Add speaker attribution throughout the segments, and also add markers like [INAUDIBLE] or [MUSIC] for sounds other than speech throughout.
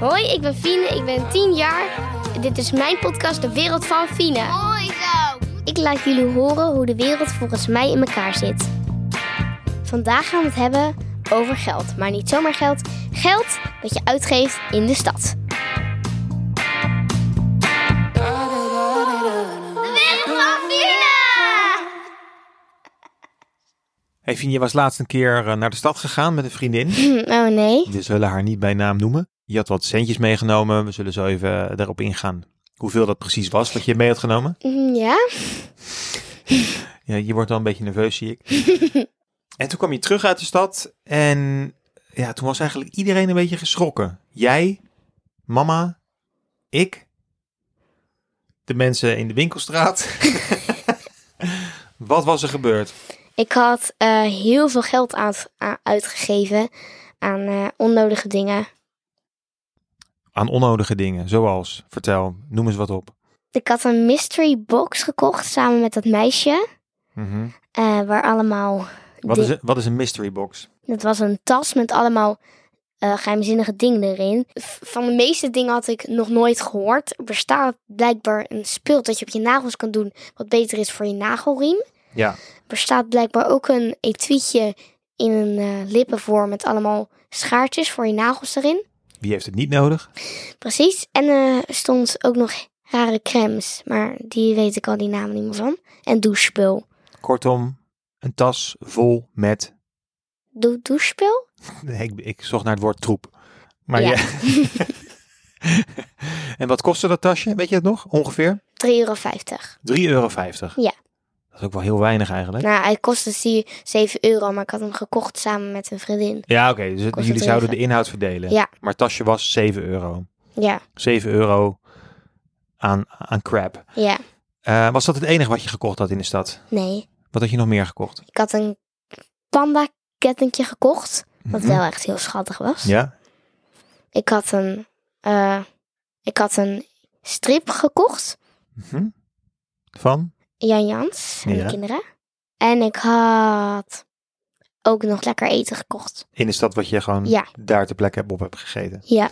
Speaker 1: Hoi, ik ben Fine, ik ben 10 jaar. Dit is mijn podcast De Wereld van Fine.
Speaker 2: Mooi zo.
Speaker 1: Ik laat jullie horen hoe de wereld volgens mij in elkaar zit. Vandaag gaan we het hebben over geld, maar niet zomaar geld. Geld dat je uitgeeft in de stad. [CLEARS THROAT]
Speaker 2: De wereld van Fina.
Speaker 3: Hey Fien, je was laatst een keer eh, naar de stad gegaan met een vriendin.
Speaker 1: Oh nee.
Speaker 3: We zullen haar niet bij naam noemen. Je had wat centjes meegenomen. We zullen zo even eh, daarop ingaan hoeveel dat precies was wat je mee had genomen.
Speaker 1: Mm, Ja?
Speaker 3: Ja, je wordt wel een beetje nerveus, zie ik. en toen kwam je terug uit de stad en ja, toen was eigenlijk iedereen een beetje geschrokken. Jij, mama, ik, de mensen in de winkelstraat. wat was er gebeurd?
Speaker 1: Ik had eh, heel veel geld aan, aan- uitgegeven aan eh, onnodige dingen.
Speaker 3: Aan onnodige dingen, zoals, vertel, noem eens wat op.
Speaker 1: Ik had een mystery box gekocht samen met dat meisje.
Speaker 3: Mhm.
Speaker 1: eh, waar allemaal.
Speaker 3: Wat,
Speaker 1: di-
Speaker 3: is, een- wat is een mystery box?
Speaker 1: Dat was een tas met allemaal eh, geheimzinnige dingen erin. V- Van de meeste dingen had ik nog nooit gehoord. Er bestaat blijkbaar een speel dat je op je nagels kan doen. Wat beter is voor je nagelriem.
Speaker 3: Ja.
Speaker 1: Er bestaat blijkbaar ook een etuietje in een eh, lippenvorm. Met allemaal schaartjes voor je nagels erin.
Speaker 3: Wie heeft het niet nodig?
Speaker 1: Precies. En eh, er stond ook nog rare crèmes. Maar die weet ik al die namen niet meer van. En douchespul.
Speaker 3: Kortom, een tas vol met...
Speaker 1: Doe douchespul?
Speaker 3: Nee, ik, ik zocht naar het woord troep. Maar
Speaker 1: Ja.
Speaker 3: ja. [LAUGHS] en wat kostte dat tasje? Weet je het nog? Ongeveer
Speaker 1: 3,50 euro.
Speaker 3: 3,50 euro.
Speaker 1: Ja.
Speaker 3: Dat is ook wel heel weinig eigenlijk.
Speaker 1: Nou, hij kostte zie 7 euro, maar ik had hem gekocht samen met een vriendin.
Speaker 3: Ja, oké. dus het-
Speaker 1: Kost
Speaker 3: jullie
Speaker 1: het
Speaker 3: zouden de
Speaker 1: even.
Speaker 3: inhoud verdelen.
Speaker 1: Ja.
Speaker 3: Maar het tasje was 7 euro.
Speaker 1: Ja,
Speaker 3: 7 euro aan, aan crap.
Speaker 1: ja,
Speaker 3: Eh, was dat het enige wat je gekocht had in de stad?
Speaker 1: nee.
Speaker 3: Wat had je nog meer gekocht?
Speaker 1: Ik had een panda kettentje gekocht, wat
Speaker 3: Mhm.
Speaker 1: wel echt heel schattig was.
Speaker 3: Ja?
Speaker 1: Ik had een, eh, ik had een strip gekocht,
Speaker 3: Mhm. Van?
Speaker 1: Jan Jans en de
Speaker 3: Ja.
Speaker 1: kinderen. En ik had ook nog lekker eten gekocht.
Speaker 3: In de stad wat je gewoon
Speaker 1: Ja.
Speaker 3: daar ter plekke op hebt gegeten.
Speaker 1: Ja,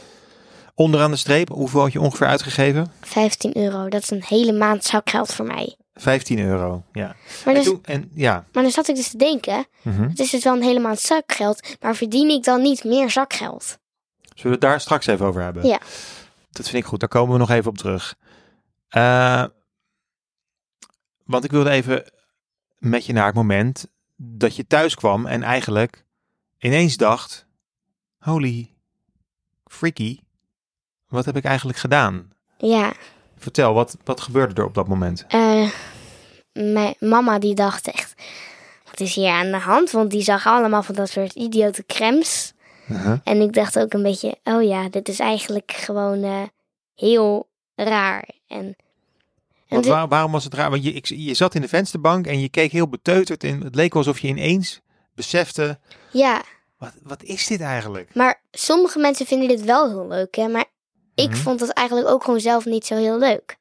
Speaker 3: Onderaan de streep, hoeveel had je ongeveer uitgegeven?
Speaker 1: 15 euro. Dat is een hele maand zakgeld voor mij.
Speaker 3: 15 euro, ja.
Speaker 1: Maar,
Speaker 3: en,
Speaker 1: dus,
Speaker 3: toen, en ja,
Speaker 1: maar dan zat ik dus te denken,
Speaker 3: mhm.
Speaker 1: het is dus wel een hele maand zakgeld, maar verdien ik dan niet meer zakgeld?
Speaker 3: zullen we het daar straks even over hebben?
Speaker 1: Ja.
Speaker 3: Dat vind ik goed, daar komen we nog even op terug. Eh, want ik wilde even met je naar het moment dat je thuis kwam en eigenlijk ineens dacht, holy freaky, wat heb ik eigenlijk gedaan?
Speaker 1: Ja,
Speaker 3: Vertel, wat, wat gebeurde er op dat moment?
Speaker 1: eh, mijn mama die dacht echt, wat is hier aan de hand? Want die zag allemaal van dat soort idiote crèmes.
Speaker 3: Mhm.
Speaker 1: En ik dacht ook een beetje, oh ja, dit is eigenlijk gewoon eh, heel raar. En, en
Speaker 3: Want
Speaker 1: dit-
Speaker 3: waar- waarom was het raar? Want je, ik, je zat in de vensterbank en je keek heel beteuterd. En het leek wel alsof je ineens besefte,
Speaker 1: ja,
Speaker 3: wat, wat is dit eigenlijk?
Speaker 1: maar sommige mensen vinden dit wel heel leuk, hè? Maar ik
Speaker 3: Mhm.
Speaker 1: vond dat eigenlijk ook gewoon zelf niet zo heel leuk.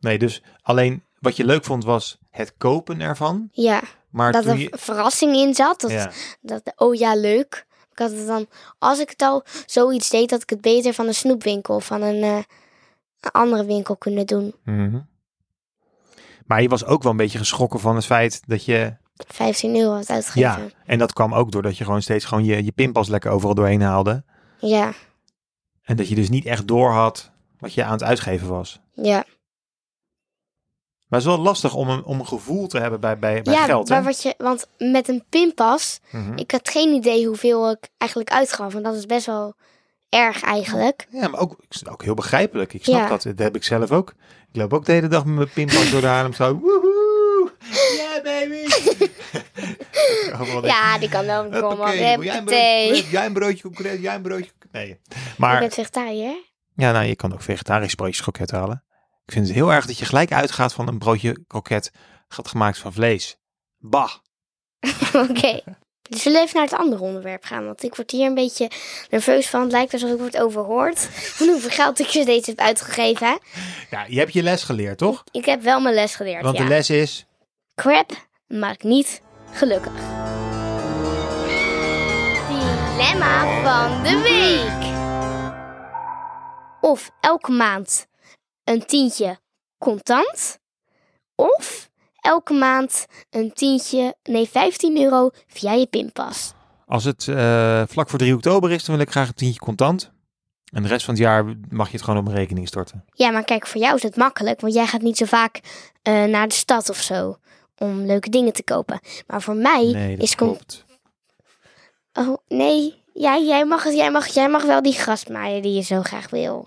Speaker 3: Nee, dus alleen wat je leuk vond was het kopen ervan.
Speaker 1: Ja,
Speaker 3: Maar
Speaker 1: dat
Speaker 3: toen
Speaker 1: er
Speaker 3: je...
Speaker 1: verrassing in zat. Dat,
Speaker 3: Ja,
Speaker 1: dat, oh ja, leuk. Ik had het dan, als ik het al zoiets deed, dat ik het beter van een snoepwinkel of van een, eh, een andere winkel kunnen doen.
Speaker 3: mhm. Maar je was ook wel een beetje geschrokken van het feit dat je...
Speaker 1: 15 euro had
Speaker 3: Ja,
Speaker 1: uitgegeven.
Speaker 3: en dat kwam ook doordat je gewoon steeds gewoon je, je pinpas lekker overal doorheen haalde.
Speaker 1: Ja. ja,
Speaker 3: En dat je dus niet echt door had wat je aan het uitgeven was.
Speaker 1: ja.
Speaker 3: Maar het is wel lastig om een, om een gevoel te hebben bij, bij, bij geld. hè?
Speaker 1: maar wat je, want met een pinpas,
Speaker 3: Mhm.
Speaker 1: ik had geen idee hoeveel ik eigenlijk uitgaf. En dat is best wel erg eigenlijk.
Speaker 3: Ja, maar ook, ik snap- ook heel begrijpelijk. Ik snap
Speaker 1: Ja.
Speaker 3: dat. Dat heb ik zelf ook. Ik loop ook de hele dag met mijn pinpas door de Haarlem. Zo, woehoe! Yeah, baby! [LAUGHS] Overal denk ik,
Speaker 1: Ja, die kan wel een
Speaker 3: "Hoppakee,
Speaker 1: kom op.
Speaker 3: wil jij
Speaker 1: [LAUGHS]
Speaker 3: een broodje
Speaker 1: Huppatee.
Speaker 3: concreet? Jij een broodje concreet? Jij een broodje concreet?" Nee.
Speaker 1: Je
Speaker 3: Maar,
Speaker 1: bent vegetariër?
Speaker 3: ja, nou, je kan ook vegetarisch broodjes kroket halen. Ik vind het heel erg dat je gelijk uitgaat van een broodje kroket gaat gemaakt van vlees. Bah!
Speaker 1: Oké. Dus we even naar het andere onderwerp gaan. Want ik word hier een beetje nerveus van. Het lijkt alsof ik word overhoord. [LAUGHS] Van hoeveel geld ik steeds heb uitgegeven.
Speaker 3: Ja, je hebt je les geleerd, toch?
Speaker 1: Ik heb wel mijn les geleerd.
Speaker 3: Want
Speaker 1: ja.
Speaker 3: de les is...
Speaker 1: Crap maakt niet gelukkig. Dilemma van de week. of elke maand een tientje contant. Of elke maand een tientje, nee 15 euro via je pinpas.
Speaker 3: Als het eh, vlak voor 3 oktober is, dan wil ik graag een tientje contant. En de rest van het jaar mag je het gewoon op mijn rekening storten.
Speaker 1: Ja, maar kijk, voor jou is het makkelijk, want jij gaat niet zo vaak eh, naar de stad of zo om leuke dingen te kopen. Maar voor mij
Speaker 3: Nee, dat
Speaker 1: is con-
Speaker 3: klopt.
Speaker 1: Oh, nee. Ja, jij mag het. Jij mag, jij mag wel die grasmaaier die je zo graag wil.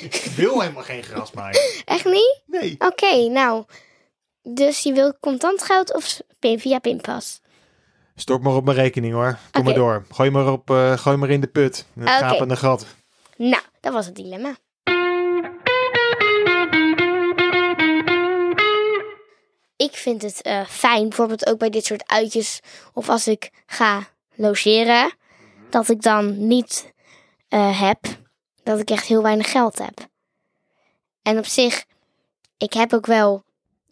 Speaker 3: Ik wil helemaal geen gras maaien.
Speaker 1: Echt niet?
Speaker 3: Nee.
Speaker 1: Oké, nou. Dus je wil contant geld of s- pin, via pinpas?
Speaker 3: Stort maar op mijn rekening hoor. Kom
Speaker 1: Oké.
Speaker 3: maar door. Gooi maar, op, eh, gooi maar in de put. Een
Speaker 1: Oké.
Speaker 3: gapende gat.
Speaker 1: Nou, dat was het dilemma. Ik vind het eh, fijn, bijvoorbeeld ook bij dit soort uitjes. Of als ik ga logeren, dat ik dan niet eh, heb. Dat ik echt heel weinig geld heb. En op zich, ik heb ook wel.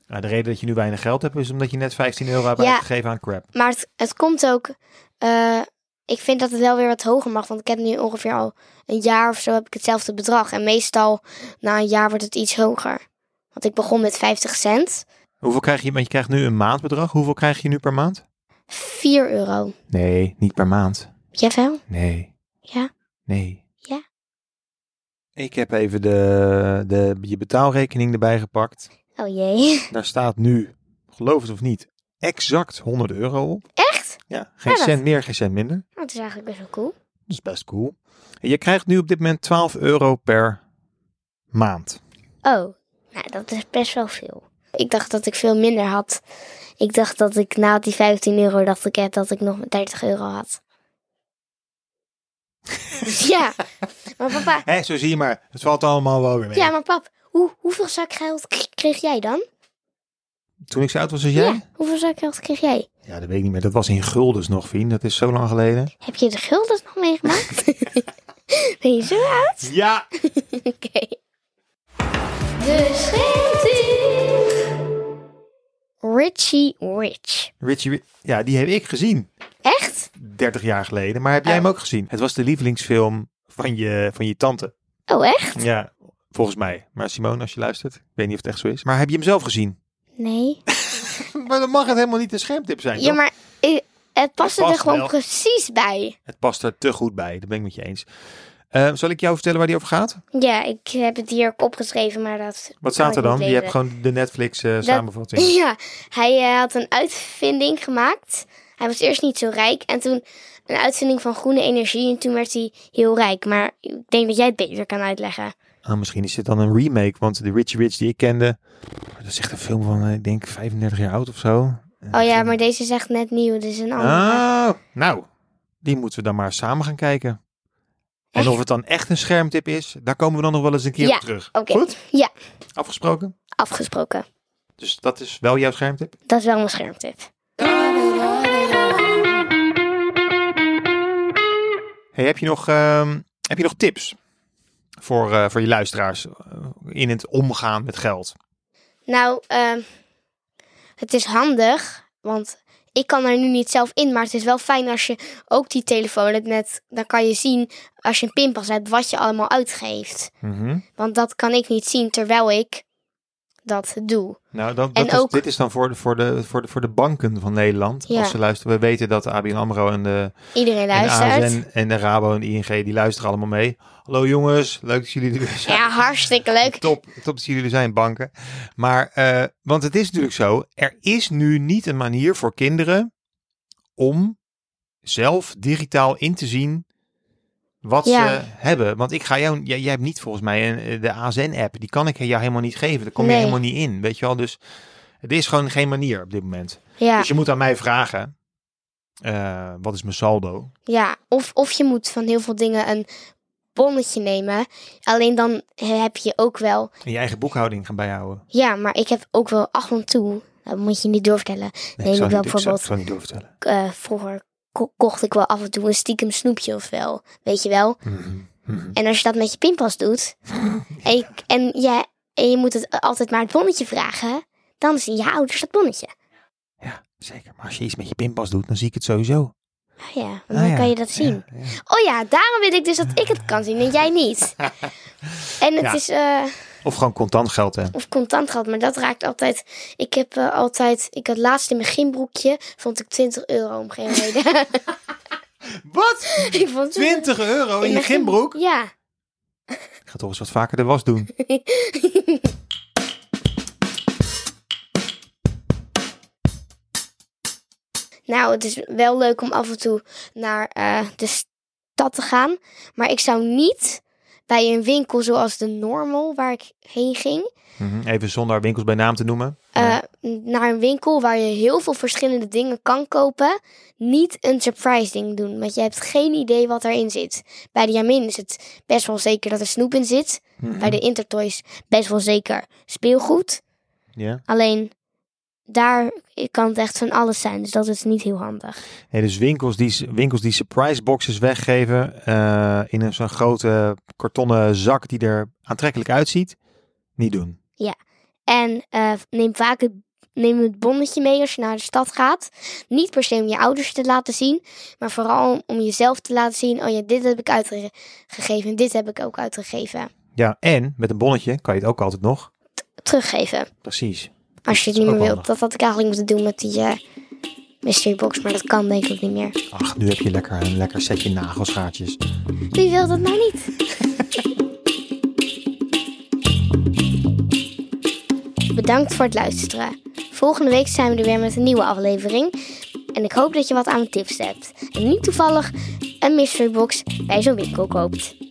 Speaker 3: Nou, de reden dat je nu weinig geld hebt, is omdat je net 15 euro hebt
Speaker 1: Ja.
Speaker 3: uitgegeven aan crap.
Speaker 1: Maar het, het komt ook. eh, ik vind dat het wel weer wat hoger mag. Want ik heb nu ongeveer al een jaar of zo heb ik hetzelfde bedrag. En meestal na een jaar wordt het iets hoger. Want ik begon met 50 cent.
Speaker 3: Hoeveel krijg je? Want je krijgt nu een maandbedrag. Hoeveel krijg je nu per maand?
Speaker 1: 4 euro.
Speaker 3: Nee, niet per maand.
Speaker 1: Jawel?
Speaker 3: Nee.
Speaker 1: Ja?
Speaker 3: Nee.
Speaker 1: Ja.
Speaker 3: Ik heb even de, de, je betaalrekening erbij gepakt.
Speaker 1: Oh jee. [LAUGHS]
Speaker 3: Daar staat nu, geloof het of niet, exact 100 euro op.
Speaker 1: Echt?
Speaker 3: Ja, geen
Speaker 1: Ja, dat-
Speaker 3: cent meer, geen cent minder.
Speaker 1: Nou, dat is eigenlijk best wel cool.
Speaker 3: Dat is best cool. En je krijgt nu op dit moment 12 euro per maand.
Speaker 1: Oh, nou dat is best wel veel. Ik dacht dat ik veel minder had. Ik dacht dat ik na die 15 euro dacht ik eh, dat ik nog 30 euro [LAUGHS] had. ja, maar papa,
Speaker 3: Hé, zo zie je maar. Het valt allemaal wel weer mee.
Speaker 1: Ja, maar pap, hoe, hoeveel zak geld k- kreeg jij dan?
Speaker 3: Toen ik zo oud was als jij?
Speaker 1: Ja, hoeveel zak geld kreeg jij?
Speaker 3: Ja, dat weet ik niet meer. Dat was in guldens nog, Vien. Dat is zo lang geleden.
Speaker 1: Heb je de guldens nog
Speaker 3: [LAUGHS]
Speaker 1: meegemaakt? ben je zo oud?
Speaker 3: Ja!
Speaker 1: Oké.
Speaker 2: De scheeptie.
Speaker 1: Richie Rich.
Speaker 3: Richie, Ri- ja, die heb ik gezien.
Speaker 1: Echt?
Speaker 3: 30 jaar geleden. Maar heb
Speaker 1: Oh.
Speaker 3: jij hem ook gezien? Het was de lievelingsfilm van je, van je tante.
Speaker 1: Oh, echt?
Speaker 3: Ja, volgens mij. Maar Simone, als je luistert. Ik weet niet of het echt zo is. Maar heb je hem zelf gezien?
Speaker 1: Nee.
Speaker 3: Maar dan mag het helemaal niet een schermtip zijn,
Speaker 1: Ja, maar eh, het paste
Speaker 3: past
Speaker 1: er gewoon
Speaker 3: wel.
Speaker 1: precies bij.
Speaker 3: Het past er te goed bij. Dat ben ik met je eens. Eh, zal ik jou vertellen waar die over gaat?
Speaker 1: Ja, ik heb het hier ook opgeschreven, maar dat...
Speaker 3: Wat staat
Speaker 1: kan
Speaker 3: er
Speaker 1: ik
Speaker 3: dan?
Speaker 1: niet
Speaker 3: Je hebt
Speaker 1: lezen.
Speaker 3: gewoon de Netflix eh, samenvatting.
Speaker 1: Ja, hij eh, had een uitvinding gemaakt. Hij was eerst niet zo rijk en toen een uitvinding van groene energie en toen werd hij heel rijk. Maar ik denk dat jij het beter kan uitleggen.
Speaker 3: Ah, misschien is dit dan een remake, want de Richie Rich die ik kende, dat is echt een film van, eh, ik denk, 35 jaar oud of zo.
Speaker 1: Oh ja, maar deze is echt net nieuw, dus een andere.
Speaker 3: Oh, nou, die moeten we dan maar samen gaan kijken. En
Speaker 1: Echt?
Speaker 3: of het dan echt een schermtip is, daar komen we dan nog wel eens een keer
Speaker 1: Ja,
Speaker 3: op terug.
Speaker 1: Oké,
Speaker 3: Goed,
Speaker 1: ja,
Speaker 3: afgesproken.
Speaker 1: afgesproken.
Speaker 3: Dus dat is wel jouw schermtip.
Speaker 1: Dat is wel mijn schermtip.
Speaker 3: Hey, heb, je nog, ehm, heb je nog tips voor, eh, voor je luisteraars eh, in het omgaan met geld?
Speaker 1: Nou, ehm, het is handig, want ik kan er nu niet zelf in, maar het is wel fijn als je ook die telefoon hebt met... Dan kan je zien, als je een pinpas hebt, wat je allemaal uitgeeft.
Speaker 3: Mhm.
Speaker 1: Want dat kan ik niet zien terwijl ik dat doe.
Speaker 3: Nou, dat,
Speaker 1: En
Speaker 3: dat is,
Speaker 1: ook-
Speaker 3: dit is dan voor de, voor, de, voor, de, voor de banken van Nederland.
Speaker 1: Ja.
Speaker 3: Als ze luisteren, we weten dat de ABN AMRO en de,
Speaker 1: Iedereen
Speaker 3: en de
Speaker 1: luistert.
Speaker 3: ASN en de Rabo en de ING, die luisteren allemaal mee. Hallo jongens, leuk dat jullie er weer zijn.
Speaker 1: ja, hartstikke leuk.
Speaker 3: Top, top dat jullie er zijn, banken. Maar, eh, want het is natuurlijk zo, er is nu niet een manier voor kinderen om zelf digitaal in te zien wat
Speaker 1: Ja.
Speaker 3: ze hebben. Want ik ga jou, jij, jij hebt niet volgens mij een, eh, de ASN-app, die kan ik jou helemaal niet geven. Daar kom
Speaker 1: Nee.
Speaker 3: je helemaal niet in, weet je wel. Dus er is gewoon geen manier op dit moment.
Speaker 1: Ja,
Speaker 3: Dus je moet aan mij vragen, eh, wat is mijn saldo?
Speaker 1: ja. Of, of je moet van heel veel dingen een bonnetje nemen. Alleen dan heb je ook wel...
Speaker 3: En je eigen boekhouding gaan bijhouden.
Speaker 1: Ja, maar ik heb ook wel af en toe... Dat moet je niet doorvertellen.
Speaker 3: Nee,
Speaker 1: Neem
Speaker 3: ik zal
Speaker 1: ik wel
Speaker 3: niet, ik zal, ik
Speaker 1: bijvoorbeeld-
Speaker 3: zal niet doorvertellen.
Speaker 1: Ik, eh, vroeger ko- kocht ik wel af en toe een stiekem snoepje of wel. Weet je wel?
Speaker 3: Mhm, mhm.
Speaker 1: En als je dat met je pinpas [LAUGHS] doet... en, je, en, ja, en je moet het altijd maar het bonnetje vragen... Dan zien je ouders dat bonnetje.
Speaker 3: Ja, zeker. Maar als je iets met je pinpas doet, dan zie ik het sowieso.
Speaker 1: Oh ja, want dan kan je dat zien. Oh ja, daarom weet ik dus dat ik het kan zien en jij
Speaker 3: [LAUGHS]
Speaker 1: niet. En het
Speaker 3: Ja.
Speaker 1: is, eh,
Speaker 3: Of gewoon contant geld, hè?
Speaker 1: of contant gehad, maar dat raakt altijd. Ik heb eh, altijd, ik had laatst in mijn gymbroekje, vond ik 20 euro om geen reden. [LAUGHS]
Speaker 3: Wat?
Speaker 1: ik vond
Speaker 3: 20 euro in je
Speaker 1: mijn
Speaker 3: gymbroek?
Speaker 1: gym- Ja.
Speaker 3: Ik ga toch eens wat vaker de was doen.
Speaker 1: [LAUGHS] Nou, het is wel leuk om af en toe naar eh, de stad te gaan. Maar ik zou niet bij een winkel zoals de Normal, waar ik heen ging,
Speaker 3: Mhm, Even zonder winkels bij naam te noemen.
Speaker 1: eh, naar een winkel waar je heel veel verschillende dingen kan kopen, niet een surprise ding doen. Want je hebt geen idee wat erin zit. Bij de Jamin is het best wel zeker dat er snoep in zit.
Speaker 3: Mhm.
Speaker 1: Bij de Intertoys best wel zeker speelgoed.
Speaker 3: Ja.
Speaker 1: Alleen daar kan het echt van alles zijn. Dus dat is niet heel handig.
Speaker 3: Nee, dus winkels die, winkels die surprise boxes weggeven eh, in een zo'n grote kartonnen zak die er aantrekkelijk uitziet, niet doen.
Speaker 1: En eh, neem vaak het, neem het bonnetje mee als je naar de stad gaat. Niet per se om je ouders te laten zien, maar vooral om, om jezelf te laten zien. Oh ja, dit heb ik uitgegeven en dit heb ik ook uitgegeven.
Speaker 3: Ja, en met een bonnetje kan je het ook altijd nog.
Speaker 1: teruggeven.
Speaker 3: Precies.
Speaker 1: Als je het niet
Speaker 3: is ook
Speaker 1: meer wilt.
Speaker 3: handig.
Speaker 1: Dat had ik eigenlijk moeten doen met die eh, mystery box. Maar dat kan denk ik niet meer.
Speaker 3: Ach, nu heb je lekker een lekker setje nagelschaartjes.
Speaker 1: Wie wil dat nou niet? Bedankt voor het luisteren. Volgende week zijn we er weer met een nieuwe aflevering. En ik hoop dat je wat aan mijn tips hebt. En niet toevallig een mystery box bij zo'n winkel koopt.